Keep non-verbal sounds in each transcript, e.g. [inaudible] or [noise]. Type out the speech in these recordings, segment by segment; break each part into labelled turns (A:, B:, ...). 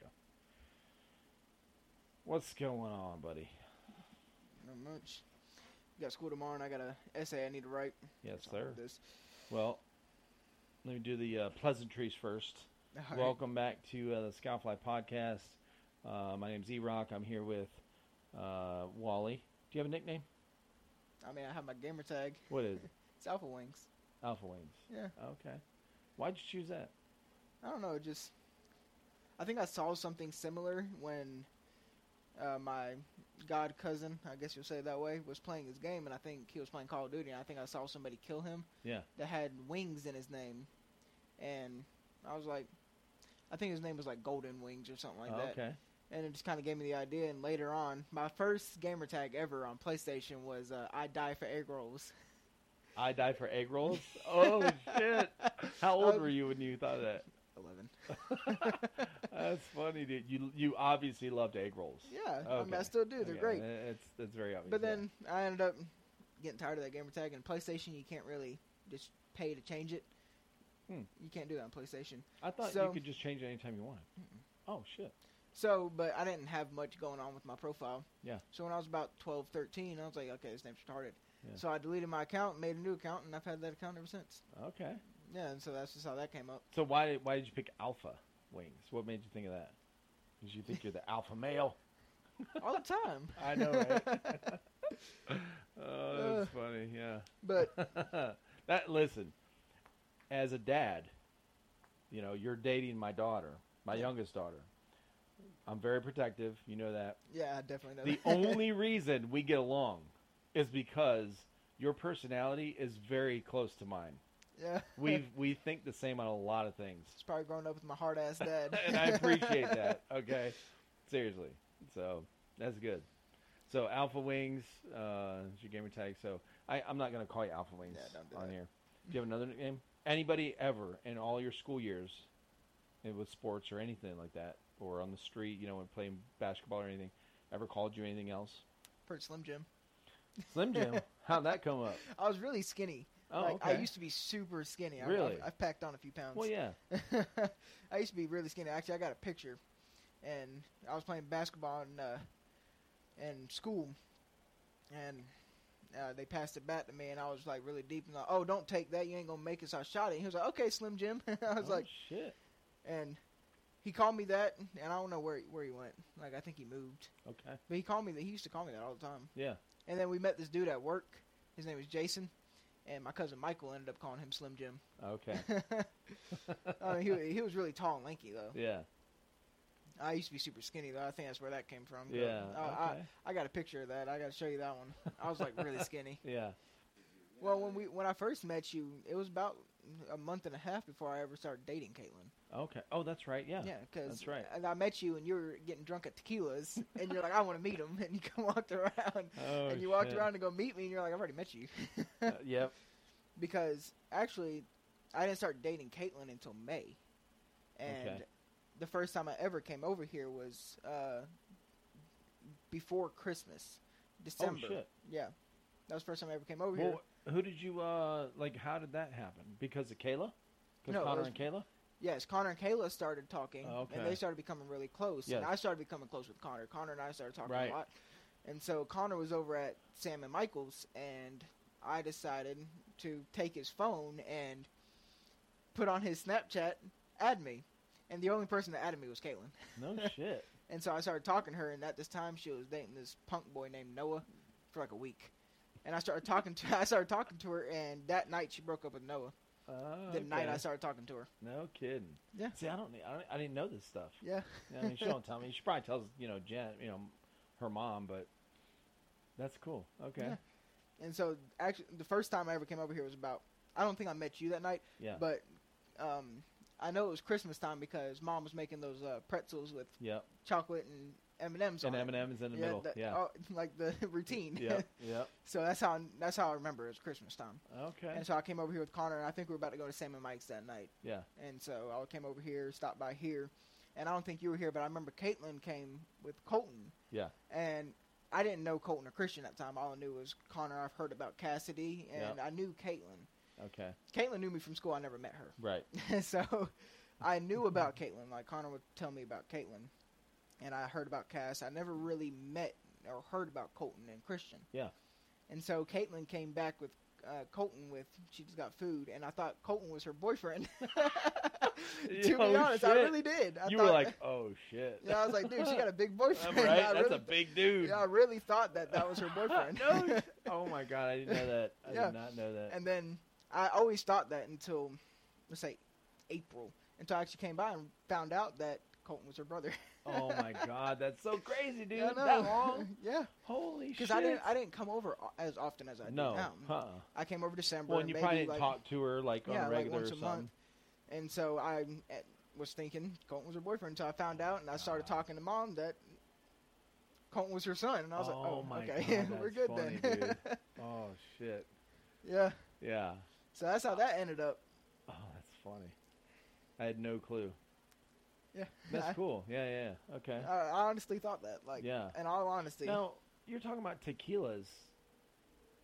A: go. What's going on, buddy?
B: Not much. Got school tomorrow, and I got a essay I need to write.
A: Yes,
B: Something like
A: sir.
B: This. [laughs]
A: Well, let me do the uh, pleasantries first.
B: All right.
A: Welcome back to uh, the Scoutfly Podcast. Uh, my name's E Rock. I'm here with uh, Wally. Do you have a nickname?
B: I mean, I have my gamer tag.
A: What is
B: [laughs]
A: it?
B: It's Alpha Wings.
A: Alpha Wings.
B: Yeah.
A: Okay. Why'd you choose that?
B: I don't know. it Just I think I saw something similar when uh, my god cousin, I guess you'll say it that way, was playing his game, and I think he was playing Call of Duty, and I think I saw somebody kill him.
A: Yeah.
B: That had wings in his name, and I was like, I think his name was like Golden Wings or something like
A: Oh,
B: that.
A: okay.
B: And it just kind of gave me the idea. And later on, my first gamer tag ever on PlayStation was uh, "I die for egg rolls."
A: I die for egg rolls.
B: [laughs]
A: Oh shit! How old
B: Um,
A: were you when you thought of
B: [laughs]
A: that?
B: Eleven.
A: That's funny, dude. You you obviously loved egg rolls.
B: Yeah, I, mean, I
A: Okay.
B: still do. They're
A: Okay,
B: great.
A: It's that's very obvious.
B: But
A: yeah.
B: then I ended up getting tired of that gamer tag and PlayStation. You can't really just pay to change it.
A: Hmm.
B: You can't do that on PlayStation.
A: I thought you
B: so-
A: could just change it anytime you wanted. Oh shit!
B: So, but I didn't have much going on with my profile.
A: Yeah.
B: So when I was about 12, 13, I was like, okay, this name's retarded.
A: Yeah.
B: So I deleted my account, made a new account, and I've had that account ever since.
A: Okay.
B: Yeah, and so that's just how that came up.
A: So why did why did you pick alpha wings? What made you think of that? Did you think you're the alpha male?
B: All the time.
A: [laughs] I know, right? oh, that's funny. Yeah.
B: [laughs]
A: [laughs]
B: But
A: that listen, as a dad, you know you're dating my daughter, my
B: Yeah.
A: youngest daughter. I'm very protective. You know that.
B: yeah, I definitely know [laughs]
A: The
B: that.
A: only reason we get along is because your personality is very close to mine.
B: yeah.
A: We we think the same on a lot of things,
B: It's probably growing up with my hard ass dad.
A: [laughs] and I appreciate that. Okay, seriously. So that's good. So Alpha Wings, uh, is your gamer tag. So I, I'm not gonna call you Alpha Wings
B: Yeah, don't do
A: on
B: that.
A: here. Do you have another nickname? Anybody ever in all your school years, eh, with sports or anything like that, or on the street, you know, when playing basketball or anything, ever called you anything else?
B: [laughs] Pretty Slim Jim.
A: Slim
B: [laughs]
A: Jim. How'd that come up?
B: I was really skinny.
A: Oh,
B: like,
A: okay.
B: I used to be super skinny. I,
A: Really?
B: I've, I've packed on a few pounds.
A: well, yeah.
B: [laughs] I used to be really skinny. Actually, I got a picture, and I was playing basketball in uh, in school, and uh, they passed it back to me, and I was like really deep and like, oh, don't take that, you ain't gonna make it. So I shot it. And he was like, okay, Slim Jim. [laughs] I was
A: Oh,
B: like,
A: shit.
B: and he called me that, and I don't know where he- where he went. Like I think he moved,
A: Okay.
B: but he called me that. He used to call me that all the time.
A: Yeah.
B: And then we met this dude at work. His name was Jason, and my cousin Michael ended up calling him Slim Jim. [laughs]
A: Okay.
B: I mean, he he was really tall and lanky though.
A: Yeah.
B: I used to be super skinny though. I think that's where that came from. but,
A: Yeah.
B: uh,
A: okay.
B: I, I got a picture of that. I got to show you that one. I was like really
A: [laughs]
B: skinny.
A: yeah.
B: Well, when we when I first met you, it was about a month and a half before I ever started dating Caitlin.
A: Okay. Oh, that's right. Yeah.
B: Yeah, because
A: that's right.
B: And I met you, and you were getting drunk at tequilas, and you're like, I want to meet him, and you come walked around,
A: Oh,
B: and you walked
A: shit.
B: around to go meet me, and you're like, I've already met you,
A: Uh, yep.
B: [laughs] because actually, I didn't start dating Caitlin until May, and
A: Okay.
B: the first time I ever came over here was uh, before Christmas, December.
A: Oh shit.
B: Yeah, that was the first time I ever came over here.
A: Well, who did you uh like? How did that happen? Because of Kayla? Because
B: No, it
A: Connor
B: was-
A: and Kayla?
B: Yes, Connor and Kayla started talking,
A: Oh,
B: and
A: okay.
B: they started becoming really close.
A: Yes.
B: And I started becoming close with Connor. Connor and I started talking
A: Right.
B: a lot, and so Connor was over at Sam and Michael's, and I decided to take his phone and put on his Snapchat, add me, and the only person that added me was Caitlin.
A: No
B: [laughs]
A: shit.
B: And so I started talking to her, and at this time she was dating this punk boy named Noah for like a week. And I started talking to [laughs] I started talking to her, and that night she broke up with Noah.
A: Oh,
B: The night I
A: okay.
B: started talking to her.
A: No kidding.
B: Yeah.
A: See, I don't, I don't. I didn't know this stuff.
B: Yeah,
A: I mean, she don't tell me. She probably tells you know Jen, you know, her mom. But that's cool. Okay.
B: Yeah. and so actually the first time I ever came over here was about I don't think I met you that night,
A: Yeah.
B: but um, I know it was Christmas time because Mom was making those uh, pretzels with
A: yep.
B: chocolate and M and M's.
A: And M and M's in the
B: yeah,
A: middle.
B: the-
A: yeah.
B: oh, [laughs] like the routine.
A: Yep. Yep.
B: [laughs] so that's how that's how I remember it was Christmas time.
A: Okay.
B: And so I came over here with Connor, and I think we were about to go to Sam and Mike's that night.
A: Yeah.
B: And so I came over here, stopped by here, and I don't think you were here, but I remember Caitlin came with Colton.
A: Yeah.
B: And I didn't know Colton or Christian at the time. All I knew was Connor. I've heard about Cassidy, and I knew Caitlin.
A: Okay.
B: Caitlin knew me from school. I never met her,
A: Right.
B: [laughs] so I knew about Caitlyn. Like Connor would tell me about Caitlyn, and I heard about Cass. I never really met or heard about Colton and Christian.
A: Yeah.
B: And so Caitlyn came back with uh, Colton with she just got food, and I thought Colton was her boyfriend. [laughs] to
A: Oh,
B: be honest, I
A: shit.
B: really did. I
A: you
B: thought,
A: were like, oh shit.
B: yeah, I was
A: [laughs]
B: like, dude, she got a big [laughs]
A: I'm
B: boyfriend.
A: right.
B: I
A: That's
B: really,
A: a big dude.
B: yeah, I really thought that that
A: [laughs]
B: was her boyfriend.
A: no. Oh my god, I didn't
B: [laughs]
A: know that. I
B: Yeah.
A: did not know that.
B: And [laughs] then I always thought that until, let's say, April, until I actually came by and found out that Colton was her brother. [laughs]
A: oh my god, that's so crazy, dude.
B: Yeah, I
A: That
B: know. [laughs]
A: long?
B: yeah,
A: Holy shit.
B: because I didn't I didn't come over o- as often as I
A: no.
B: do now.
A: Huh.
B: I came over December.
A: Well, and
B: and
A: you
B: maybe
A: probably didn't
B: like,
A: talk to her like on
B: yeah, like,
A: regular
B: once
A: or
B: a
A: something.
B: month. and so I eh, was thinking Colton was her boyfriend until I found out, and I started
A: God.
B: talking to mom that Colton was her son, and I was like,
A: Oh
B: oh,
A: my
B: okay,
A: God,
B: [laughs] we're
A: that's
B: good
A: funny,
B: then.
A: dude. Oh shit.
B: [laughs] yeah,
A: Yeah.
B: so that's how that ended up.
A: Oh, that's funny. I had no
B: [laughs]
A: clue.
B: Yeah,
A: That's
B: I,
A: cool. Yeah, yeah. yeah. Okay.
B: I, I honestly thought that, like,
A: Yeah.
B: in all honesty,
A: Now you're talking about tequilas.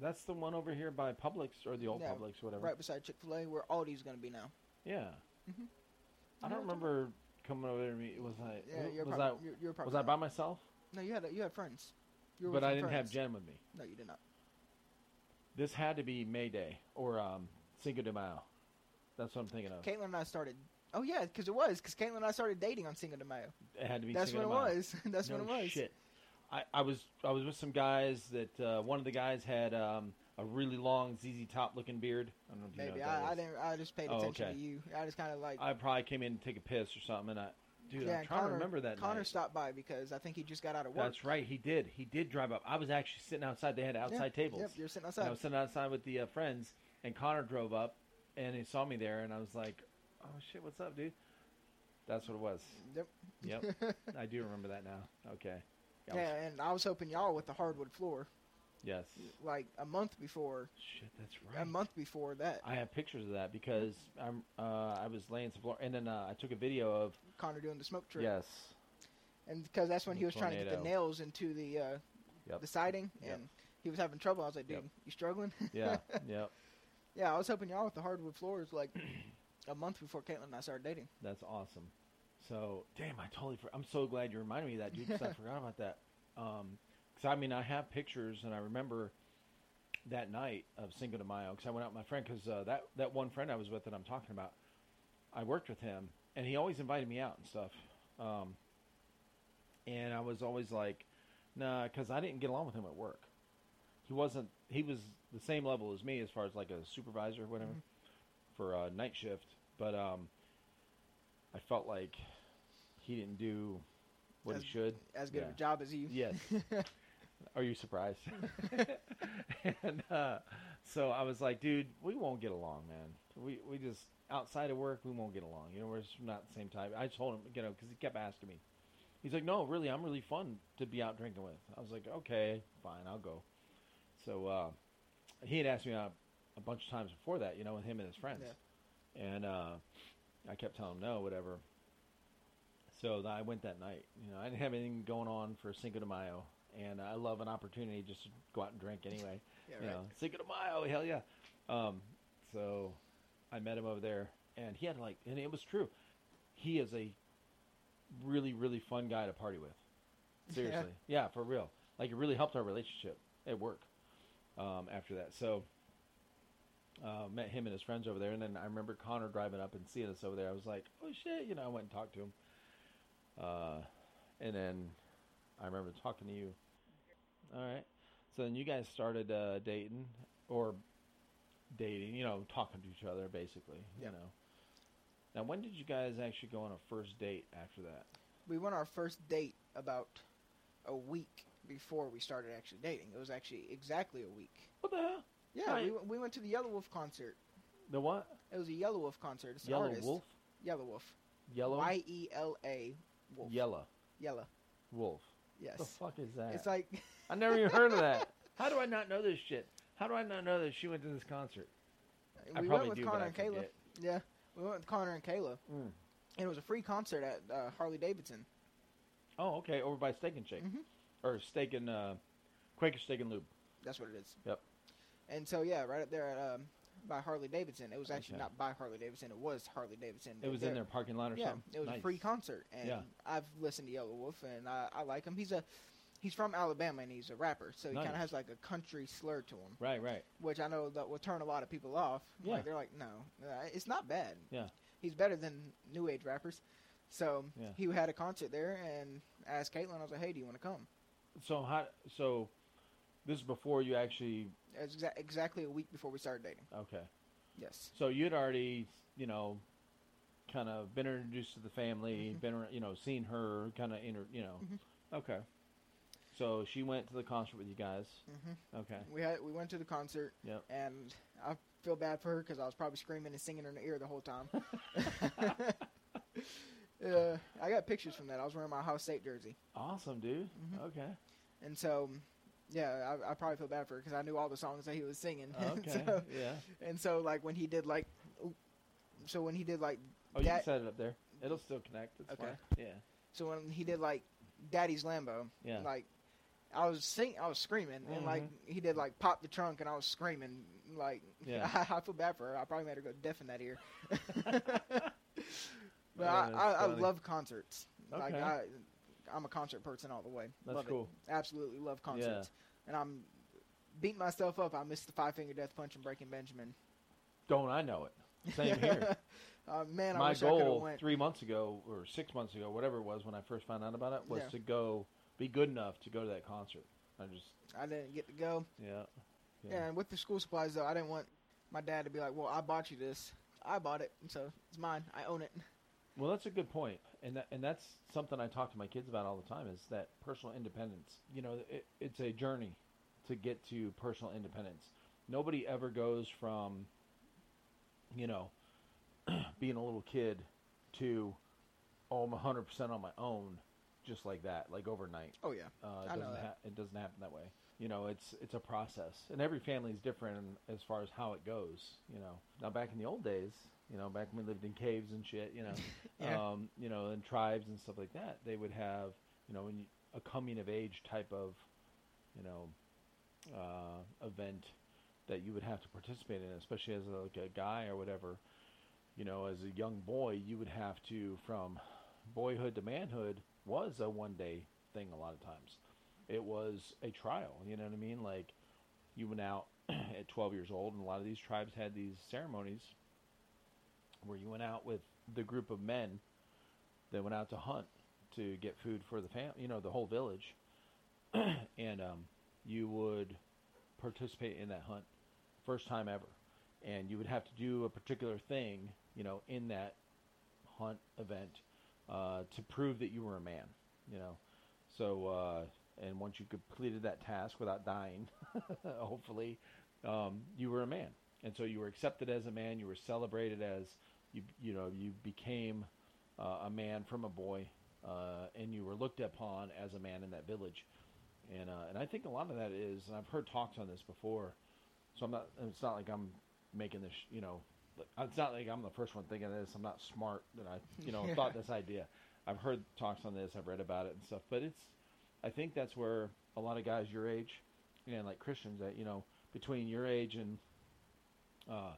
A: That's the one over here by Publix or the old
B: Yeah,
A: Publix, whatever.
B: right beside Chick Fil A, where Aldi's gonna be now.
A: Yeah.
B: Mhm.
A: I don't remember coming over to me. Was I?
B: Yeah, you're
A: Mm-hmm. was
B: probably,
A: I?
B: you're, you're probably
A: Was I
B: not.
A: by myself?
B: No, you had you had friends. You were
A: But
B: with
A: I
B: some
A: didn't have
B: friends.
A: Jen with me.
B: No, you did not.
A: This had to be May Day or um, Cinco de Mayo. That's what I'm thinking of.
B: Caitlin and I started. Oh yeah, because it was because Caitlin and I started dating on Cinco de Mayo.
A: It had to be.
B: That's
A: Cinco
B: when it
A: de Mayo.
B: was. [laughs] That's
A: no
B: when it was.
A: Shit. I, I was I was with some guys that uh, one of the guys had um, a really long ZZ Top looking beard. I don't know if you
B: Maybe
A: know what that
B: I, I
A: is.
B: didn't. I just paid
A: Oh,
B: attention
A: okay.
B: to you. I just kind of like.
A: I probably came in to take a piss or something, and I dude,
B: yeah,
A: I'm
B: and
A: trying
B: Connor,
A: to remember that.
B: Connor
A: night.
B: stopped by because I think he just got out of work.
A: That's right. He did. He did drive up. I was actually sitting outside. They had outside tables.
B: Yep, you're
A: And
B: sitting
A: I
B: outside.
A: was sitting outside with the uh, friends, and Connor drove up, and he saw me there, and I was like, "Oh shit, what's up, dude?" That's what it was.
B: Yep. [laughs]
A: Yep, I do remember that now. Okay. I was-
B: yeah, and I was hoping y'all with the hardwood floor
A: Yes.
B: like a month before.
A: Shit, that's right.
B: A month before that,
A: I have pictures of that because I'm. Uh, I was laying some floor, and then uh, I took a video of.
B: Connor doing the smoke trip.
A: Yes.
B: and because that's when
A: The
B: he was trying to get the
A: tornado.
B: nails into the uh,
A: Yep.
B: the siding,
A: Yep.
B: and he was having trouble. I was like, dude,
A: Yep.
B: you struggling? [laughs]
A: Yeah. yep.
B: yeah, I was helping y'all with the hardwood floors like a month before Caitlin and I started dating.
A: That's awesome. So, damn, I totally. For- I'm so glad you reminded me of that, dude. Because I forgot about that. Um 'cause I mean, I have pictures, and I remember that night of Cinco de Mayo. Because I went out with my friend. Because uh, that that one friend I was with that I'm talking about, I worked with him, and he always invited me out and stuff. Um, and I was always like, nah, because I didn't get along with him at work. He wasn't. He was the same level as me as far as like a supervisor or whatever for uh, night shift. But um, I felt like he didn't do what
B: As-
A: he should.
B: As good of
A: Yeah.
B: a job as you. [laughs]
A: Yes. Are you surprised? [laughs] and uh, so I was like, dude, we won't get along, man. We we just outside of work, we won't get along. You know, we're just not the same type. I told him, you know, because he kept asking me. He's like, no, really, I'm really fun to be out drinking with. I was like, okay, fine, I'll go. So uh, he had asked me out a bunch of times before that, you know, with him and his friends, and uh, I kept telling him no, whatever. So th- I went that night. You know, I didn't have anything going on for Cinco de Mayo, and I love an opportunity just to go out and drink anyway.
B: Yeah,
A: you
B: right.
A: know, Cinco de Mayo, hell yeah. Um, so I met him over there, and he had like, and it was true. He is a really, really fun guy to party with. Seriously, yeah, for real. Like it really helped our relationship at work um, after that. So uh, met him and his friends over there, and then I remember Connor driving up and seeing us over there. I was like, oh shit, you know. I went and talked to him, uh, and then I remember talking to you. All right, so then you guys started uh, dating or dating, you know, talking to each other basically.
B: Yeah.
A: You know. Now, when did you guys actually go on a first date after that?
B: We went our first date about a week before we started actually dating. It was actually exactly a week.
A: What the hell?
B: Yeah,
A: Right.
B: we, went- we went to the Yellow Wolf concert.
A: The what?
B: It was a Yellow Wolf concert. It's an
A: Yellow
B: artist.
A: wolf?
B: Yellow Wolf.
A: Yellow?
B: Y E L A Wolf.
A: Yellow
B: Yellow.
A: wolf. What
B: Yes.
A: the fuck is that?
B: It's like
A: I never
B: [laughs]
A: even heard of that. How do I not know this shit? How do I not know that she went to this concert? I
B: we
A: probably
B: went with
A: do, but
B: Connor
A: I
B: and Kayla.
A: forget.
B: Yeah, we went with Connor and Kayla,
A: Mm.
B: and it was a free concert at uh, Harley Davidson.
A: Oh, okay, over by Steak and Shake,
B: Mhm.
A: or Steak and uh, Quaker Steak and Lube.
B: That's what it is.
A: Yep.
B: And so yeah, right up there at um, by Harley Davidson. It was actually
A: Okay.
B: not by Harley Davidson. It was Harley Davidson.
A: It was in their parking lot or
B: yeah,
A: something.
B: it was
A: Nice.
B: a free concert, and
A: Yeah.
B: I've listened to Yellow Wolf, and I, I like him. He's a he's from Alabama, and he's a rapper, so he kind
A: Nice.
B: of has like a country slur to him,
A: Right, right.
B: which I know that will turn a lot of people off.
A: Yeah.
B: Like they're like, no, uh, it's not bad.
A: Yeah.
B: he's better than new age rappers. So
A: Yeah.
B: he had a concert there, and I asked Caitlin, I was like, hey, do you want to come?
A: So how? So this is before you actually.
B: It was exa- exactly a week before we started dating.
A: Okay.
B: Yes.
A: So you'd already, you know, kind of been introduced to the family,
B: Mhm.
A: been, ar- you know, seen her, kind of, inter, you know.
B: Mhm.
A: Okay. So she went to the concert with you guys.
B: hmm
A: Okay.
B: We had we went to the concert,
A: Yep.
B: and I feel bad for her because I was probably screaming and singing in her ear the
A: [laughs]
B: whole time. uh, I got pictures from that. I was wearing my house state jersey,
A: Awesome, dude.
B: Mhm.
A: Okay.
B: and so yeah, I, I probably feel bad for her because I knew all the songs that he was singing. [laughs] and,
A: Okay.
B: [laughs] so,
A: yeah.
B: and so like when he did like, oop, so when he did like,
A: Oh, you can
B: that-
A: set it up there. It'll still connect. It's
B: Okay.
A: fine. Yeah.
B: so when he did like, Daddy's Lambo,
A: Yeah. Mm-hmm.
B: like. I was sing, I was screaming, and like he did, like pop the trunk, and I was screaming, like
A: Yeah.
B: [laughs] I, I feel bad for her. I probably made her go deaf in that
A: [laughs]
B: ear. But
A: Yeah,
B: I,
A: that's
B: I, I
A: funny.
B: love concerts. Like
A: Okay.
B: I, I'm a concert person all the way.
A: That's
B: love
A: cool.
B: It. Absolutely love concerts. And I'm beating myself up. I missed the five finger death punch and breaking Benjamin.
A: Don't I know it? Same here.
B: [laughs] uh, man, I
A: my
B: wish I could have
A: goal
B: went.
A: three months ago or six months ago, whatever it was when I first found out about it, was
B: Yeah.
A: to go be good enough to go to that concert. I just
B: I didn't get to go.
A: yeah.
B: Yeah. And with the school supplies though, I didn't want my dad to be like, "Well, I bought you this. I bought it, and so it's mine. I own it."
A: Well, that's a good point, and that, and that's something I talk to my kids about all the time is that personal independence. You know, it, it's a journey to get to personal independence. Nobody ever goes from, you know, [clears throat] being a little kid to, oh, I'm 100 percent on my own, just like that, like overnight.
B: Oh yeah.
A: Uh, it
B: I know
A: doesn't
B: that.
A: ha- it doesn't happen that way. You know, it's it's a process, and every family is different as far as how it goes. You know, now back in the old days, you know, back when we lived in caves and shit, you know,
B: [laughs] Yeah.
A: um, you know, and tribes and stuff like that, they would have, you know, when you, a coming of age type of, you know, uh, event that you would have to participate in, especially as a, like a guy or whatever. You know, as a young boy, you would have to from boyhood to manhood was a one day thing a lot of times. It was a trial, you know what I mean? Like you went out [clears throat] at 12 years old and a lot of these tribes had these ceremonies where you went out with the group of men that went out to hunt to get food for the fam, you know, the whole village. [clears throat] and um, you would participate in that hunt first time ever. And you would have to do a particular thing, you know, in that hunt event uh, to prove that you were a man, you know. So, uh, and once you completed that task without dying, [laughs] hopefully, um, you were a man. And so you were accepted as a man, you were celebrated as, you, you know, you became uh, a man from a boy, uh, and you were looked upon as a man in that village. And, uh, and I think a lot of that is, and I've heard talks on this before, so I'm not, it's not like I'm making this, you know, it's not like I'm the first one thinking of this. I'm not smart that I, you know,
B: Yeah.
A: thought this idea. I've heard talks on this, I've read about it and stuff, but it's, I think that's where a lot of guys your age, and like Christians that, you know, between your age and, uh,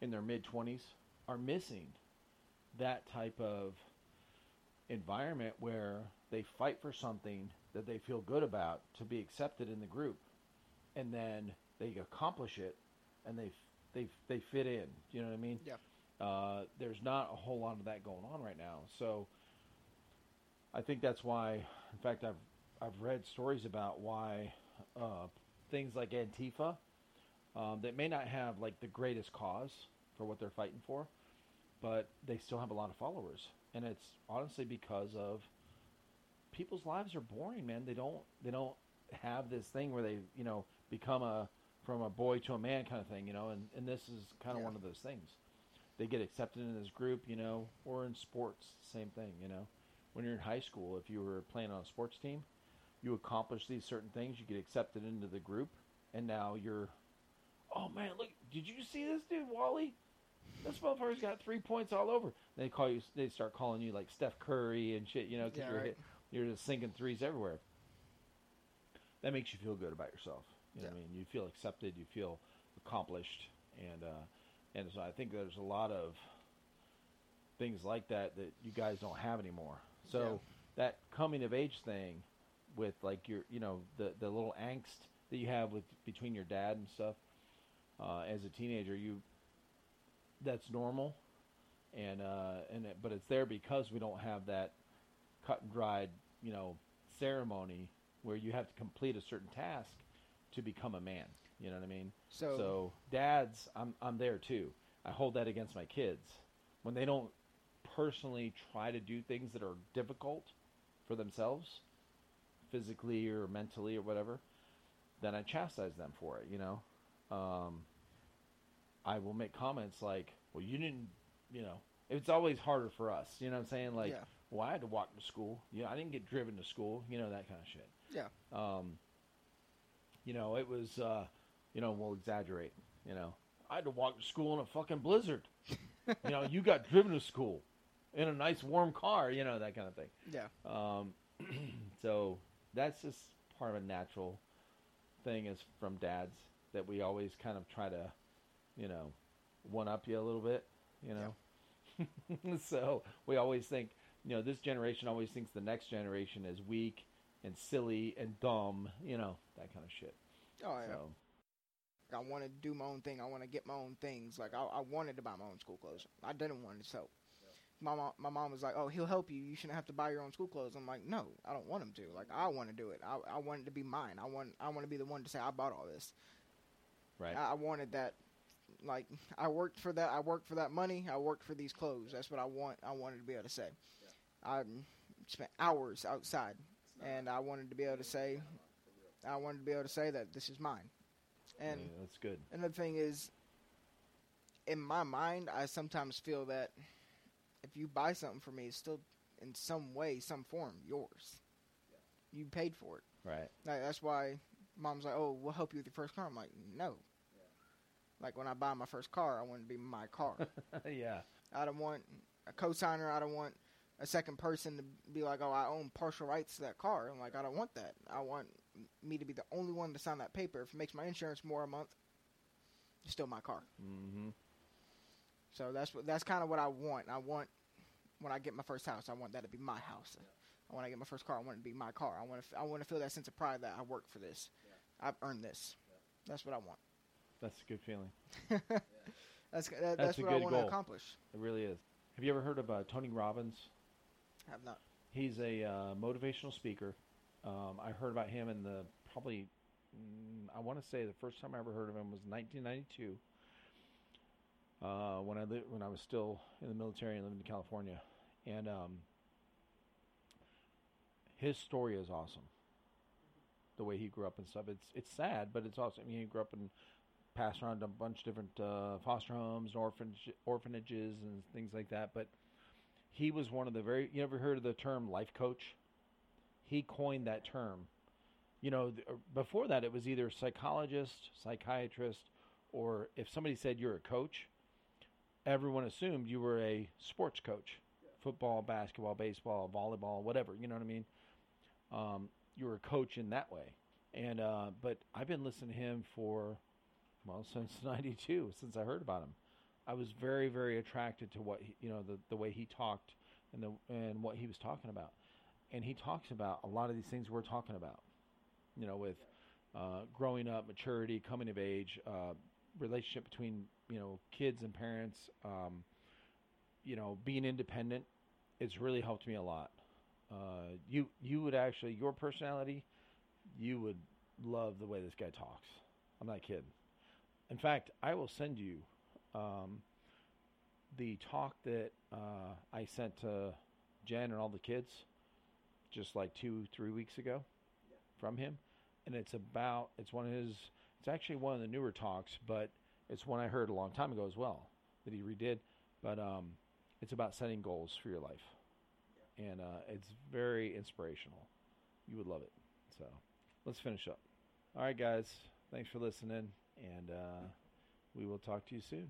A: in their mid 20s are missing that type of environment where they fight for something that they feel good about to be accepted in the group and then they accomplish it and they they they fit in you know what i mean
B: Yeah.
A: uh, there's not a whole lot of that going on right now so i think that's why in fact i've i've read stories about why uh, things like antifa um, that may not have like the greatest cause for what they're fighting for, but they still have a lot of followers, and it's honestly because of people's lives are boring, man. They don't they don't have this thing where they you know become a from a boy to a man kind of thing, you know, and and this is kind of
B: Yeah.
A: one of those things. They get accepted in this group, you know, or in sports, same thing, you know. When you're in high school, if you were playing on a sports team, you accomplish these certain things, you get accepted into the group, and now you're Oh man, look! Did you see this dude, Wally? This motherfucker's got three points all over. They call you. They start calling you like Steph Curry and shit. You know, 'cause
B: Yeah,
A: you're
B: right.
A: hit, you're just sinking threes everywhere. That makes you feel good about yourself. You know what I mean? You feel accepted. You feel accomplished, and uh, And so I think there's a lot of things like that that you guys don't have anymore. So that coming of age thing with like your you know the the little angst that you have with between your dad and stuff uh, as a teenager you that's normal and uh and it, but it's there because we don't have that cut and dried you know ceremony where you have to complete a certain task to become a man you know what i mean
B: So-
A: so dads i'm i'm there too i hold that against my kids when they don't personally try to do things that are difficult for themselves physically or mentally or whatever, then I chastise them for it, you know. Um, I will make comments like, "Well, you didn't," you know. It's always harder for us, you know what I'm saying? Like,
B: Yeah.
A: well, I had to walk to school. You know, I didn't get driven to school. You know that kind of shit.
B: Yeah.
A: Um, you know, it was, uh, you know, we'll exaggerate. You know, I had to walk to school in a fucking blizzard.
B: [laughs]
A: you know, you got driven to school in a nice warm car. You know that kind of thing.
B: Yeah.
A: Um, [clears throat] so that's just part of a natural thing is from dads that we always kind of try to, you know, one up you a little bit, you know. [laughs] so we always think, you know, this generation always thinks the next generation is weak and silly and dumb, you know, that kind of shit.
B: Oh yeah.
A: So
B: I want to do my own thing. I want to get my own things. Like I, I wanted to buy my own school clothes. I didn't want to sew. My mom, my mom was like, "Oh, he'll help you. You shouldn't have to buy your own school clothes." I'm like, "No, I don't want him to. Like I want to do it. I, I want it to be mine. I want I want to be the one to say I bought all this.
A: right.
B: I, I wanted that. Like I worked for that. I worked for that money. I worked for these clothes. That's what I want. I wanted to be able to say. I spent hours outside, and I wanted to be able to say, I wanted to be able to say that this is mine. And
A: Yeah, that's good.
B: another thing is in my mind i sometimes feel that if you buy something for me it's still in some way some form yours you paid for it
A: Right. [laughs]
B: like, that's why mom's like oh we'll help you with your first car i'm like no like when i buy my first car i want it to be my car
A: yeah.
B: i don't want a co-signer i don't want a second person to be like oh i own partial rights to that car i'm like i don't want that i want me to be the only one to sign that paper if it makes my insurance more a month it's still my car
A: Mhm.
B: so that's what that's kind of what I want. I want when I get my first house, I want that to be my house. I want to get my first car. I want it to be my car. I want to I want to feel that sense of pride that I worked for this. I've earned this. That's what I want.
A: That's a good feeling.
B: [laughs] That's that, that's,
A: That's a
B: what I
A: good
B: want to
A: goal.
B: accomplish.
A: It really is. Have you ever heard of uh, Tony Robbins?
B: I've not.
A: He's a uh, motivational speaker. Um, I heard about him in the probably, mm, I want to say the first time I ever heard of him was 1992. Uh, when I li- when I was still in the military and living in California, and um, his story is awesome. The way he grew up and stuff, it's it's sad, but it's awesome. I mean, he grew up and passed around a bunch of different uh, foster homes, and orphanage, orphanages, and things like that. But he was one of the very you ever heard of the term life coach he coined that term you know th- er, before that it was either psychologist psychiatrist or if somebody said you're a coach everyone assumed you were a sports coach football basketball baseball volleyball whatever you know what i mean um, you were a coach in that way and uh, but i've been listening to him for well [laughs] since 92 since i heard about him I was very very attracted to what he, you know the, the way he talked and the and what he was talking about, and he talks about a lot of these things we're talking about, you know, with uh, growing up, maturity, coming of age, uh, relationship between you know kids and parents, um, you know, being independent. It's really helped me a lot. Uh, you you would actually your personality, you would love the way this guy talks. I'm not kidding. In fact, I will send you um, the talk that uh, I sent to Jen and all the kids just like two, three weeks ago from him. And it's about, it's one of his, it's actually one of the newer talks, but it's one I heard a long time ago as well that he redid. But um, it's about setting goals for your life. And uh, it's very inspirational. You would love it. So let's finish up. All right, guys. Thanks for listening. And uh, we will talk to you soon.